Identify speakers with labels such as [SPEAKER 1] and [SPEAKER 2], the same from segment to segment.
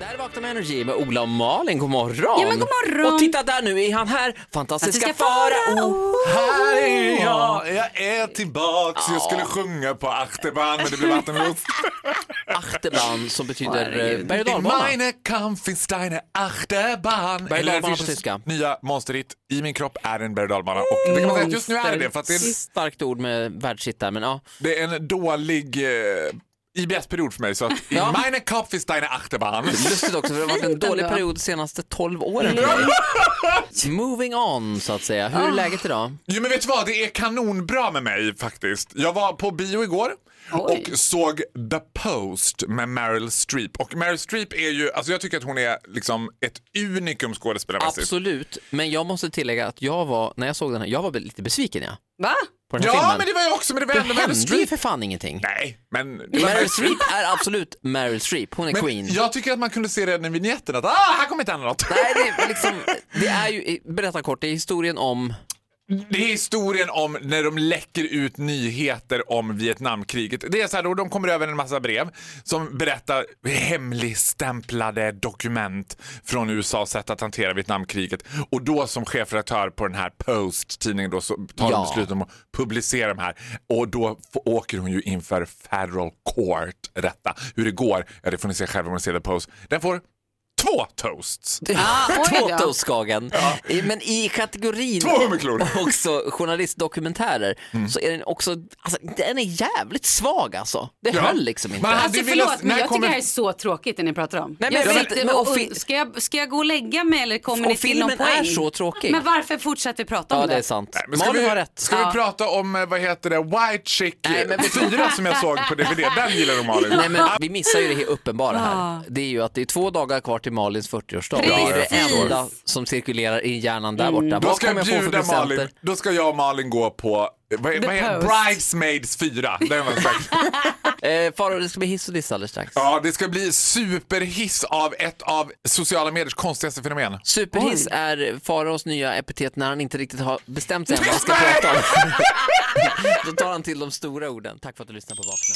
[SPEAKER 1] Där vaknar med Energy med Ola och Malin, god morgon!
[SPEAKER 2] Ja, men god morgon.
[SPEAKER 1] Och titta där nu är han här, fantastiska Oh.
[SPEAKER 2] Fantastiska
[SPEAKER 1] farao!
[SPEAKER 2] farao.
[SPEAKER 3] Här är jag, jag är tillbaks. Jag skulle sjunga på Achterbahn men det blev vattenlost.
[SPEAKER 1] Achterbahn som betyder eh,
[SPEAKER 2] Herregud.
[SPEAKER 1] berg och
[SPEAKER 3] In
[SPEAKER 1] dalbana.
[SPEAKER 3] meine Kampfensteine Achterbahn.
[SPEAKER 1] Berg- och
[SPEAKER 3] Eller
[SPEAKER 1] dalbana på
[SPEAKER 3] Vichys
[SPEAKER 1] tyska.
[SPEAKER 3] nya monsterhit I min kropp är en berg och dalbana. Och det kan man säga att just nu är det för att det är en,
[SPEAKER 1] Starkt ord med världshit där, men ja.
[SPEAKER 3] det är en dålig eh, IBS-period för mig. Så att In
[SPEAKER 1] Ja.
[SPEAKER 3] meine Kampfensteine Achterbahn.
[SPEAKER 1] Lustigt också för det har varit en
[SPEAKER 2] Fint
[SPEAKER 1] dålig
[SPEAKER 2] ändå.
[SPEAKER 1] period de senaste 12 åren för mig. Moving on så att säga. Hur är läget idag?
[SPEAKER 3] Jo men vet du vad, det är kanonbra med mig faktiskt. Jag var på bio igår
[SPEAKER 2] Oj.
[SPEAKER 3] och såg The Post med Meryl Streep. Och Meryl Streep är ju, alltså jag tycker att hon är liksom ett unikum skådespelarmässigt.
[SPEAKER 1] Absolut, men jag måste tillägga att jag var, när jag såg den här, jag var lite besviken ja,
[SPEAKER 2] Va?
[SPEAKER 1] på den här
[SPEAKER 3] Ja
[SPEAKER 1] filmen.
[SPEAKER 3] men det var jag också, men det var
[SPEAKER 1] det
[SPEAKER 3] ändå Meryl
[SPEAKER 1] hände ju
[SPEAKER 3] Streep.
[SPEAKER 1] för fan ingenting.
[SPEAKER 3] Nej, men... det var
[SPEAKER 1] Meryl Streep är absolut Meryl Streep, hon är queen.
[SPEAKER 3] Men jag tycker att man kunde se redan i vignetten att ah, här kommer inte hända något.
[SPEAKER 1] Nej, det, är liksom, det är ju, berätta kort, det är historien om,
[SPEAKER 3] Det är historien om när de läcker ut nyheter om Vietnamkriget. Det är så här då, de kommer över en massa brev som berättar hemligstämplade dokument från USAs sätt att hantera Vietnamkriget. Och då som chefredaktör på den här Post-tidningen då så
[SPEAKER 1] Ja.
[SPEAKER 3] tar de beslut om att publicera de här. Och då f- åker hon ju inför Federal Court detta. Hur det går, ja det får ni se själva om ni ser The Post. Den får två toasts.
[SPEAKER 2] Ah, oj då.
[SPEAKER 1] Tåtåskagen. Men i kategorin
[SPEAKER 3] Två Mm. hummerklor!
[SPEAKER 1] också journalistdokumentärer så är den också, alltså, den är jävligt svag alltså. Det
[SPEAKER 3] Ja.
[SPEAKER 1] höll liksom inte.
[SPEAKER 3] Man hade
[SPEAKER 2] Alltså
[SPEAKER 3] ju velat-
[SPEAKER 2] förlåt, men
[SPEAKER 3] när
[SPEAKER 2] jag tycker
[SPEAKER 3] kommer-
[SPEAKER 2] det här är så tråkigt det ni pratar om.
[SPEAKER 1] men
[SPEAKER 2] jag
[SPEAKER 1] jag
[SPEAKER 2] vet
[SPEAKER 1] vet-
[SPEAKER 2] inte,
[SPEAKER 1] men
[SPEAKER 2] och,
[SPEAKER 1] och fi-
[SPEAKER 2] ska, jag, ska jag gå och lägga mig eller kommer ni
[SPEAKER 1] Och
[SPEAKER 2] till någon
[SPEAKER 1] filmen
[SPEAKER 2] poäng?
[SPEAKER 1] är så tråkig.
[SPEAKER 2] Men varför fortsätter vi prata om
[SPEAKER 1] Ja, det är sant.
[SPEAKER 3] Nej, men ska
[SPEAKER 1] Malin
[SPEAKER 3] vi,
[SPEAKER 1] har rätt.
[SPEAKER 3] Ska
[SPEAKER 2] Ja.
[SPEAKER 3] vi prata om, eh, vad heter det, White Chick
[SPEAKER 1] Nej, men vi-
[SPEAKER 3] 4 som jag såg på DVD? Den gillar du Malin.
[SPEAKER 1] Ah. Nej, men vi missar ju det helt uppenbara här. Det är ju att det är två dagar kvar till Malins 40-årsdag. Det är det
[SPEAKER 2] Ah. Precis.
[SPEAKER 1] enda som cirkulerar i hjärnan där borta.
[SPEAKER 3] Mm. Då
[SPEAKER 1] Vad
[SPEAKER 3] ska,
[SPEAKER 1] kommer
[SPEAKER 3] jag
[SPEAKER 1] jag få för
[SPEAKER 3] bjuda Malin,
[SPEAKER 1] presenter?
[SPEAKER 3] då ska jag och Malin gå på eh, vad, vad heter,
[SPEAKER 2] Post.
[SPEAKER 3] Bridesmaids 4. Den var stark.
[SPEAKER 1] Eh, Farao, det ska bli hiss och diss alldeles strax.
[SPEAKER 3] ja, det ska bli superhiss av ett av sociala mediers konstigaste fenomen.
[SPEAKER 1] Superhiss är Faraos nya epitet när han inte riktigt har bestämt sig än vad han ska prata om. Då tar han till de stora orden. Tack för att du lyssnar på Vakna.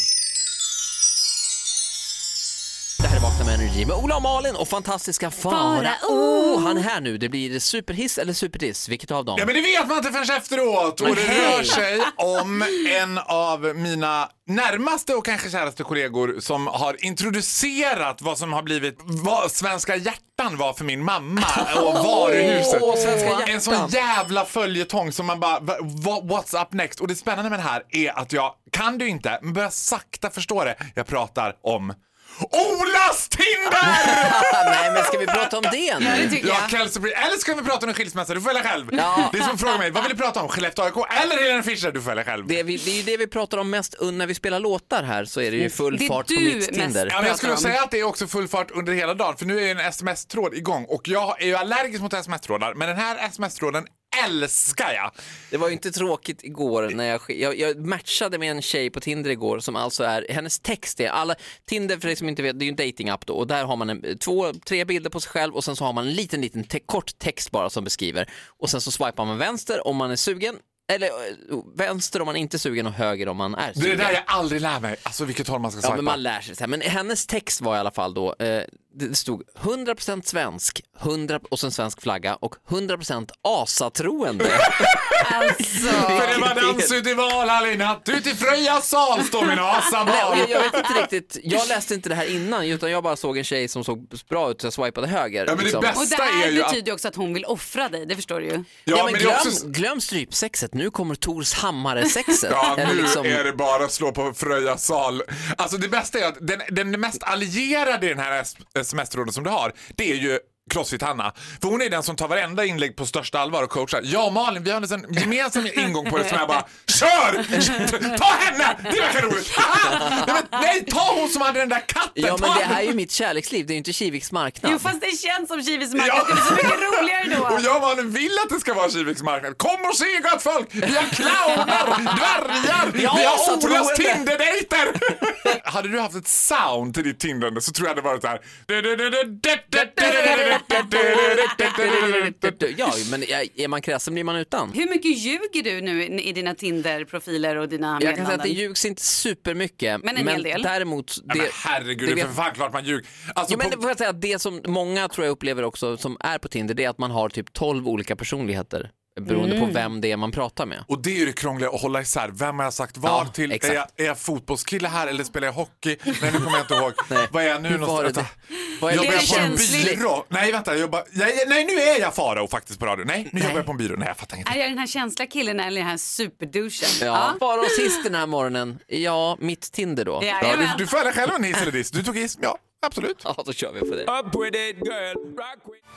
[SPEAKER 1] Det här är Vakna med Energy med Ola och Malin och fantastiska Farao.
[SPEAKER 2] oh.
[SPEAKER 1] Han är här nu. Det blir superhiss eller superdiss. Vilket av dem?
[SPEAKER 3] Ja, men det vet man inte förrän efteråt. Och det
[SPEAKER 1] Okej.
[SPEAKER 3] rör sig om en av mina närmaste och kanske käraste kollegor som har introducerat vad som har blivit vad Svenska hjärtan var för min mamma och varuhuset.
[SPEAKER 1] Åh, Svenska Hjärtan.
[SPEAKER 3] en sån jävla följetong som man bara, va- va- what's up next? Och det spännande med det här är att jag kan det ju inte, men börjar sakta förstå det. Jag pratar om Olas Tinder!
[SPEAKER 1] Nej, men ska vi prata om det
[SPEAKER 2] Ja, det
[SPEAKER 1] nu?
[SPEAKER 2] tycker
[SPEAKER 3] Ja,
[SPEAKER 2] jag.
[SPEAKER 3] Kelsey Eller ska vi prata om en skilsmässa? Du får välja själv.
[SPEAKER 1] Ja.
[SPEAKER 3] Det är som frågar mig, vad vill du prata om? Skellefteå AIK eller Helena Fischer? Du får välja själv.
[SPEAKER 1] Det, vi, det är ju det vi pratar om mest un- när vi spelar låtar här så är det ju full
[SPEAKER 2] Mm. Det är
[SPEAKER 1] fart på
[SPEAKER 2] du
[SPEAKER 1] mitt Tinder.
[SPEAKER 2] mest.
[SPEAKER 3] Ja, men jag skulle
[SPEAKER 2] pratar om.
[SPEAKER 3] säga att det är också full fart under hela dagen för nu är ju en sms-tråd igång och jag är ju allergisk mot sms-trådar men den här sms-tråden älskar jag.
[SPEAKER 1] Det var ju inte tråkigt igår när jag, sk- jag, jag matchade med en tjej på Tinder igår som alltså är, hennes text är, alla, Tinder för dig som inte vet, det är ju en datingapp då och där har man en, två, tre bilder på sig själv och sen så har man en liten, liten te- kort text bara som beskriver och sen så swipar man vänster om man är sugen eller eh, vänster om man inte är sugen och höger om man är
[SPEAKER 3] Det är
[SPEAKER 1] sugen.
[SPEAKER 3] det där jag aldrig lär mig, alltså vilket håll man ska
[SPEAKER 1] Ja,
[SPEAKER 3] swipa.
[SPEAKER 1] men man lär sig så här. Men hennes text var i alla fall då, eh, det- det stod 100% svensk, 100, och sen svensk flagga och 100% asatroende.
[SPEAKER 2] Alltså,
[SPEAKER 3] För det var dans ut i Valhall i natt, ut i Freja sal står min
[SPEAKER 1] Nej, och jag,
[SPEAKER 3] asabarn.
[SPEAKER 1] jag vet inte riktigt, jag läste inte det här innan utan jag bara såg en tjej som såg bra ut så jag swipade höger. liksom.
[SPEAKER 3] Ja, men det bästa-
[SPEAKER 2] och det
[SPEAKER 3] är
[SPEAKER 2] här
[SPEAKER 3] ju att-
[SPEAKER 2] betyder ju också att hon vill offra dig, det förstår du ju.
[SPEAKER 1] Ja,
[SPEAKER 3] Ja,
[SPEAKER 1] men
[SPEAKER 3] men det är
[SPEAKER 1] glöm,
[SPEAKER 3] också-
[SPEAKER 1] glöm strypsexet, nu kommer Tors Hammare-sexet.
[SPEAKER 3] Ja,
[SPEAKER 1] Eller
[SPEAKER 3] nu
[SPEAKER 1] liksom-
[SPEAKER 3] är det bara att slå på Fröja sal. Alltså det bästa är att den, den mest allierade i den här semesterråden som du har, det är ju Crossfit-Hanna. För hon är den som tar varenda inlägg på största allvar och coachar. Jag och Malin, vi har en sån gemensam ingång på det som jag bara KÖR! Ta henne! Det verkar roligt! Ah! Nej, men, nej, ta hon som hade den där katten!
[SPEAKER 1] ja, men
[SPEAKER 3] Ta
[SPEAKER 1] det här är
[SPEAKER 3] henne!
[SPEAKER 1] ju mitt kärleksliv, det är ju inte Kiviks marknad.
[SPEAKER 2] Jo fast det känns som Kivis marknad,
[SPEAKER 3] Ja.
[SPEAKER 2] det är så mycket roligare då.
[SPEAKER 3] Och jag och Malin vill att det ska vara Kiviks marknad. Kom och se gott folk! Vi har clowner, dvärgar, vi
[SPEAKER 1] Ja, så
[SPEAKER 3] har Olas
[SPEAKER 1] troende.
[SPEAKER 3] Tinder-dejter! Hade du haft ett sound till ditt tindrande så tror jag det hade varit så här.
[SPEAKER 1] Ja, men är man kräsen blir man utan.
[SPEAKER 2] Hur mycket ljuger du nu i dina Tinder-profiler och dina
[SPEAKER 1] Jag kan säga att det
[SPEAKER 2] meddelanden?
[SPEAKER 1] ljugs inte supermycket.
[SPEAKER 2] Men en hel del.
[SPEAKER 1] Däremot,
[SPEAKER 3] Nej, men
[SPEAKER 1] det,
[SPEAKER 3] herregud,
[SPEAKER 1] det
[SPEAKER 3] det är
[SPEAKER 1] vet-
[SPEAKER 3] för fan klart man ljuger. Alltså,
[SPEAKER 1] Ja, men det
[SPEAKER 3] på,
[SPEAKER 1] får jag säga, att det som många tror jag upplever också som är på Tinder det är att man har typ 12 olika personligheter beroende på vem det är man pratar med.
[SPEAKER 3] och det är ju det krångliga att hålla isär. Vem har jag sagt vad
[SPEAKER 1] Ja,
[SPEAKER 3] till? Är
[SPEAKER 1] exakt.
[SPEAKER 3] jag, är jag fotbollskille här eller spelar jag hockey? Nej, nu kommer jag inte ihåg. Vad är jag nu
[SPEAKER 1] Hur var
[SPEAKER 3] någonstans?
[SPEAKER 1] det? Vad är
[SPEAKER 3] Jag
[SPEAKER 1] det?
[SPEAKER 2] är
[SPEAKER 3] jobbar på en
[SPEAKER 2] känsligt.
[SPEAKER 3] byrå. Nej, vänta. Jag jobbar... Nej, nej, nu är jag Farao faktiskt på radio. Nej, nu jobbar jag på en byrå. Nej, jag fattar
[SPEAKER 2] Är
[SPEAKER 3] ingenting.
[SPEAKER 2] jag den här känsliga killen eller den här superduschen?
[SPEAKER 1] Ja. Bara och sist den här morgonen, ja, mitt Tinder då.
[SPEAKER 2] Ja,
[SPEAKER 3] Ja, du,
[SPEAKER 2] jajamän.
[SPEAKER 3] du får välja själv en hiss eller diss. Du tog hiss. Ja, absolut.
[SPEAKER 1] Ja, då kör vi på det.
[SPEAKER 4] Up with it, girl. Rock with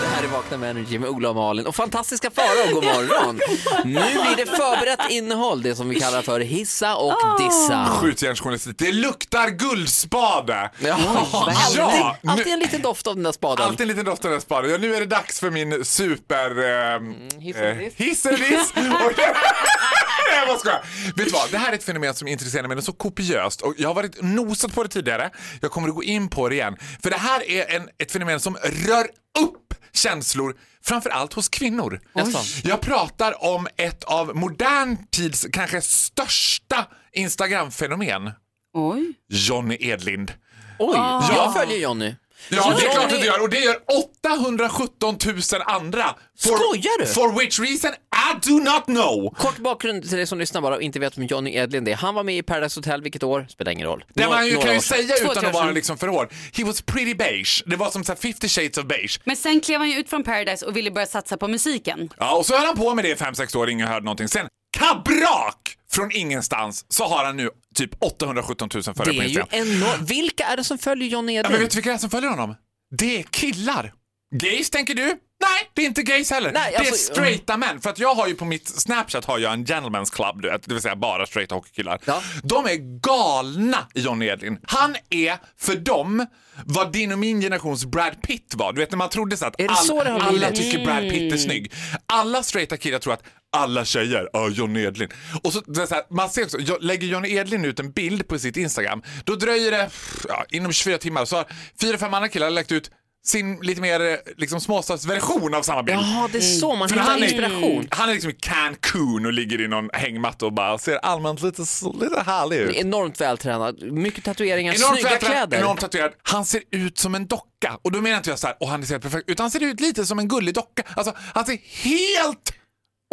[SPEAKER 1] Det här är Vakna med Energy med Ola och Malin och fantastiska Farao, god morgon! Nu blir det förberett innehåll, det som vi kallar för hissa och dissa.
[SPEAKER 3] Skjutjärnsjournalistik. Det luktar guldspade.
[SPEAKER 1] Ja,
[SPEAKER 3] Ja,
[SPEAKER 1] alltid,
[SPEAKER 3] nu-
[SPEAKER 1] alltid en liten doft av den där spaden.
[SPEAKER 3] Alltid en liten doft av den spaden. Ja, nu är det dags för min super... ehm,
[SPEAKER 1] hiss eller diss.
[SPEAKER 3] eh, hiss eller diss. Och- Nej, jag bara skojar. Vet du vad? Det här är ett fenomen som intresserar mig så kopiöst. Och jag har varit nosat på det tidigare. Jag kommer att gå in på det igen. För det här är en, ett fenomen som rör upp känslor, framförallt hos kvinnor.
[SPEAKER 1] Jaså.
[SPEAKER 3] Jag pratar om ett av modern tids kanske största Instagram-fenomen.
[SPEAKER 2] Oj.
[SPEAKER 3] Johnny Edlind.
[SPEAKER 1] Oj,
[SPEAKER 3] Ja.
[SPEAKER 1] jag följer Jonny.
[SPEAKER 3] Ja, det är klart
[SPEAKER 1] Johnny-
[SPEAKER 3] att du gör. Och det gör 817 000 andra. For,
[SPEAKER 1] Skojar du?
[SPEAKER 3] For which reason I do not know.
[SPEAKER 1] Kort bakgrund till dig som lyssnar bara och inte vet vem Johnny Edlin är. Han var med i Paradise Hotel, vilket år? Spelar ingen roll.
[SPEAKER 3] Det
[SPEAKER 1] Nå-
[SPEAKER 3] man ju
[SPEAKER 1] några
[SPEAKER 3] kan
[SPEAKER 1] år
[SPEAKER 3] ju
[SPEAKER 1] sedan.
[SPEAKER 3] säga
[SPEAKER 2] Två
[SPEAKER 3] utan
[SPEAKER 2] år
[SPEAKER 3] att vara
[SPEAKER 2] sedan.
[SPEAKER 3] liksom för hård. He was pretty beige. Det var som så här 50 shades of beige.
[SPEAKER 2] Men sen klev han ju ut från Paradise och ville börja satsa på musiken.
[SPEAKER 3] Ja, och så höll han på med det i 5-6 år, ingen hörde någonting. Sen kabrak! Från ingenstans så har han nu typ 817 000 följare på
[SPEAKER 1] Det är ju
[SPEAKER 3] Instagram.
[SPEAKER 1] enormt. Vilka är det som följer Johnny
[SPEAKER 3] Ja,
[SPEAKER 1] Edlin?
[SPEAKER 3] men vet du vilka det är som följer honom? Det är killar. Gays tänker du? Nej, det är inte gays heller.
[SPEAKER 1] Nej,
[SPEAKER 3] det är
[SPEAKER 1] alltså-
[SPEAKER 3] straighta män. För att jag har ju på mitt Snapchat har jag en gentleman's club, du vet, det vill säga bara straighta hockeykillar.
[SPEAKER 1] Ja.
[SPEAKER 3] De är galna i Johnny Edlin. Han är för dem vad din och min generations Brad Pitt var. Du vet när man trodde så att
[SPEAKER 1] Är det så det har
[SPEAKER 3] alla
[SPEAKER 1] blivit?
[SPEAKER 3] tycker Brad Pitt är snygg. Alla straighta killar tror att alla tjejer, ja Johnny Edlin. Och så, det är så här, man ser också, jag- lägger Johnny Edlin ut en bild på sitt Instagram, då dröjer det ja, inom 24 timmar så har fyra, fem andra killar lagt ut sin lite mer eh, liksom, småstadsversion av samma bild.
[SPEAKER 1] Jaha, det är så man
[SPEAKER 3] För han
[SPEAKER 1] hittar
[SPEAKER 3] är-
[SPEAKER 1] inspiration.
[SPEAKER 3] Han är liksom i Cancun och ligger i någon hängmatta och bara ser allmänt lite, lite härlig ut.
[SPEAKER 1] Enormt vältränad, mycket tatueringar,
[SPEAKER 3] Enormt
[SPEAKER 1] snygga
[SPEAKER 3] vältränad,
[SPEAKER 1] kläder.
[SPEAKER 3] Enormt tatuerad. Han ser ut som en docka. Och då menar inte jag så här, och han är helt perfekt. Utan han ser ut lite som en gullig docka. Alltså, han ser helt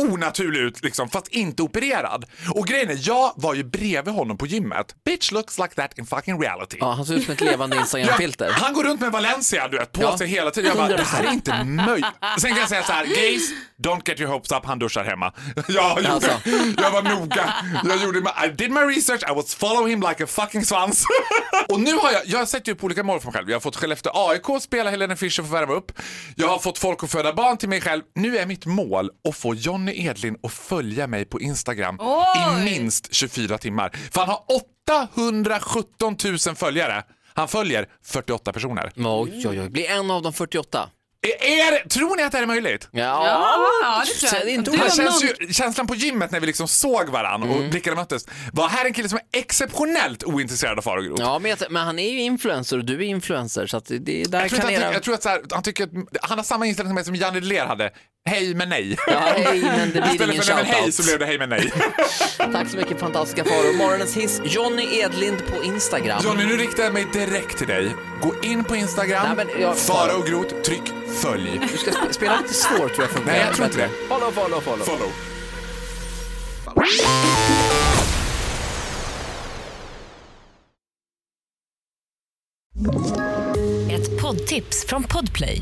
[SPEAKER 3] onaturlig ut, liksom, fast inte opererad. Och grejen är, jag var ju bredvid honom på gymmet. Bitch looks like that in fucking reality.
[SPEAKER 1] Ja, han ser ut som ett levande Instagram-filter.
[SPEAKER 3] Ja, han går runt med Valencia du vet, på
[SPEAKER 1] Ja.
[SPEAKER 3] sig hela tiden. Jag bara, det här är inte möjligt. Sen kan jag säga så här, gays, don't get your hopes up, han duschar hemma. Jag, gjorde,
[SPEAKER 1] Alltså.
[SPEAKER 3] jag var noga. Jag gjorde, my- I did my research, I was follow him like a fucking svans. Och nu har jag, jag har sett ju på olika mål för mig själv. Jag har fått Skellefteå AIK spela Helene Fischer för att värma upp. Jag har fått folk att föda barn till mig själv. Nu är mitt mål att få Jonny Edlin att följa mig på Instagram i
[SPEAKER 2] Oj.
[SPEAKER 3] minst 24 timmar. För han har 817 000 följare. Han följer 48 personer.
[SPEAKER 1] Oj, oj, oj. Blir en av de 48?
[SPEAKER 3] Är, är, tror ni att det här är möjligt?
[SPEAKER 1] Ja,
[SPEAKER 2] Ja, det tror
[SPEAKER 1] Sen
[SPEAKER 2] jag.
[SPEAKER 1] inte
[SPEAKER 2] Du
[SPEAKER 1] Det
[SPEAKER 3] Det
[SPEAKER 1] var
[SPEAKER 2] om
[SPEAKER 3] känns
[SPEAKER 2] någon...
[SPEAKER 3] ju, känslan på gymmet när vi liksom såg varandra
[SPEAKER 1] Mm.
[SPEAKER 3] och blickarna möttes var här en kille som är exceptionellt ointresserad av far och grot.
[SPEAKER 1] ja men, jag, men han är ju influencer och du är influencer så att det- det är där
[SPEAKER 3] Jag tror, att
[SPEAKER 1] kan
[SPEAKER 3] han, tycker-
[SPEAKER 1] era...
[SPEAKER 3] jag tror att så här, han, tycker att, han har samma inställning till mig som Janne Deler hade. Hej men nej.
[SPEAKER 1] Ja, hej, men det blir
[SPEAKER 3] Istället
[SPEAKER 1] ingen
[SPEAKER 3] för nej men hej
[SPEAKER 1] shoutout.
[SPEAKER 3] så blev det hej men nej.
[SPEAKER 1] Tack så mycket fantastiska Farao. Morgonens hiss, Johnny Edlind på Instagram.
[SPEAKER 3] Johnny nu riktar jag mig direkt till dig. Gå in på Instagram,
[SPEAKER 1] Nej, men jag-
[SPEAKER 3] fara och grot, tryck följ.
[SPEAKER 1] Du ska sp- spela lite svårt tror jag funkar.
[SPEAKER 3] Nej, jag tror inte det.
[SPEAKER 1] Follow, follow, follow.
[SPEAKER 3] Follow.
[SPEAKER 5] Ett poddtips från Podplay.